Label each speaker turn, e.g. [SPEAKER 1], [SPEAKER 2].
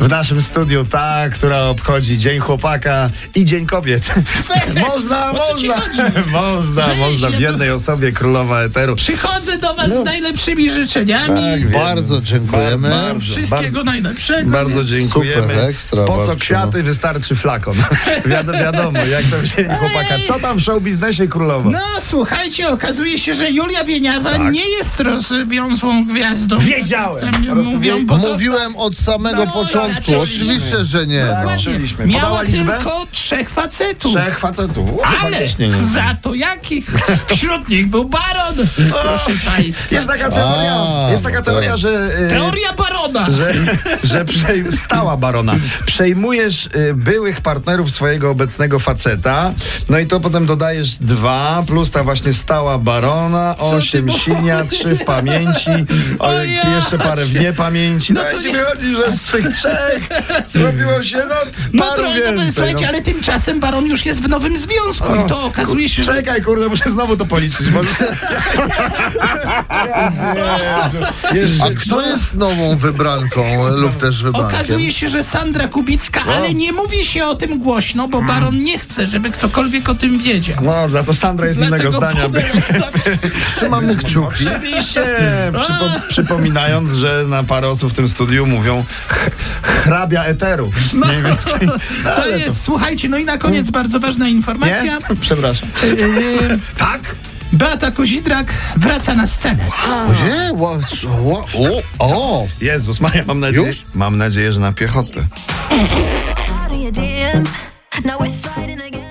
[SPEAKER 1] w naszym studiu, ta, która obchodzi Dzień Chłopaka i Dzień Kobiet. można,
[SPEAKER 2] O co ci
[SPEAKER 1] można,
[SPEAKER 2] chodzi?
[SPEAKER 1] można,
[SPEAKER 2] Weź,
[SPEAKER 1] można, w
[SPEAKER 2] ja tu-
[SPEAKER 1] jednej osobie królowa eteru.
[SPEAKER 2] Przychodzę do
[SPEAKER 1] No.
[SPEAKER 2] was z najlepszymi życzeniami.
[SPEAKER 1] wiem.
[SPEAKER 3] Bardzo dziękujemy.
[SPEAKER 1] Tak, Bardzo,
[SPEAKER 2] Wszystkiego
[SPEAKER 1] bardzo,
[SPEAKER 2] najlepszego.
[SPEAKER 1] bardzo
[SPEAKER 2] więc-
[SPEAKER 1] dziękujemy.
[SPEAKER 3] Super, ekstra,
[SPEAKER 1] po co
[SPEAKER 3] babciu. no.
[SPEAKER 1] kwiaty, wystarczy flakon. Wiado, wiadomo, jak to w Dzień Chłopaka. Co tam w show biznesie królowa?
[SPEAKER 2] No, słuchajcie, okazuje się, że Julia Wieniawa
[SPEAKER 1] Tak.
[SPEAKER 2] nie jest rozwiązłą gwiazdą.
[SPEAKER 1] Wiedziałem.
[SPEAKER 2] Tak czasem
[SPEAKER 1] Rozumiem.
[SPEAKER 2] Mówią, bo to
[SPEAKER 3] Mówiłem od samego
[SPEAKER 2] No,
[SPEAKER 3] początku.
[SPEAKER 2] raczej
[SPEAKER 3] Oczywiście, że nie.
[SPEAKER 1] Tak,
[SPEAKER 3] No.
[SPEAKER 1] zaczęliśmy. Podała
[SPEAKER 2] miała
[SPEAKER 1] liczbę?
[SPEAKER 2] tylko trzech facetów.
[SPEAKER 1] Trzech facetów. O,
[SPEAKER 2] Ale
[SPEAKER 1] faktycznie nie.
[SPEAKER 2] za to jakich? Wśród nich był baron, proszę państwa.
[SPEAKER 1] Jest taka teoria,
[SPEAKER 3] A,
[SPEAKER 1] jest taka
[SPEAKER 3] no
[SPEAKER 1] teoria,
[SPEAKER 3] tak.
[SPEAKER 1] że... e,
[SPEAKER 2] Teoria barona.
[SPEAKER 1] Że, że przej- stała barona. Przejmujesz y, byłych partnerów swojego obecnego faceta, no i to potem dodajesz dwa, plus ta właśnie stała barona, osiem
[SPEAKER 2] mówisz?
[SPEAKER 1] sinia, trzy w pamięci, o,
[SPEAKER 2] O ja
[SPEAKER 1] jeszcze parę w niepamięci. No
[SPEAKER 2] No
[SPEAKER 1] to
[SPEAKER 2] to
[SPEAKER 1] ci
[SPEAKER 2] nie-
[SPEAKER 1] wychodzi, że z tych trzech zrobiło się no,
[SPEAKER 2] No
[SPEAKER 1] paru
[SPEAKER 2] trochę,
[SPEAKER 1] więcej.
[SPEAKER 2] no, to- słuchajcie, ale tymczasem baron już jest w nowym związku i to okazuje się, że...
[SPEAKER 1] Czekaj, kurde, muszę znowu to policzyć. Bo... Jezu. Jeszcze
[SPEAKER 3] A kto jest nową wybranką lub też
[SPEAKER 1] Tak,
[SPEAKER 3] wybrankiem?
[SPEAKER 2] Okazuje się, że Sandra Kubicka, ale nie mówi się o tym głośno, bo
[SPEAKER 1] Hmm.
[SPEAKER 2] baron nie chce, żeby ktokolwiek o tym wiedział.
[SPEAKER 1] No, za to Sandra jest innego zdania. by-
[SPEAKER 2] pudełek zawsze-
[SPEAKER 3] Trzymamy kciuki.
[SPEAKER 1] Oczywiście, przypo, przypominając, że na parę osób w tym studiu mówią ch- hrabia eteru.
[SPEAKER 2] No,
[SPEAKER 1] Mniej więcej. No,
[SPEAKER 2] to
[SPEAKER 1] ale
[SPEAKER 2] jest, słuchajcie, no i na koniec bardzo ważna
[SPEAKER 1] Hmm. Nie?
[SPEAKER 2] informacja.
[SPEAKER 1] Przepraszam.
[SPEAKER 2] Yy,
[SPEAKER 1] Tak?
[SPEAKER 2] Beata Kozidrak wraca na scenę.
[SPEAKER 3] Ojej, ła- ła- o, o,
[SPEAKER 1] Jezus Maria, mam nadzieję,
[SPEAKER 3] Już?
[SPEAKER 1] mam nadzieję że na piechotę.
[SPEAKER 4] out of your DMs. Now we're fighting again.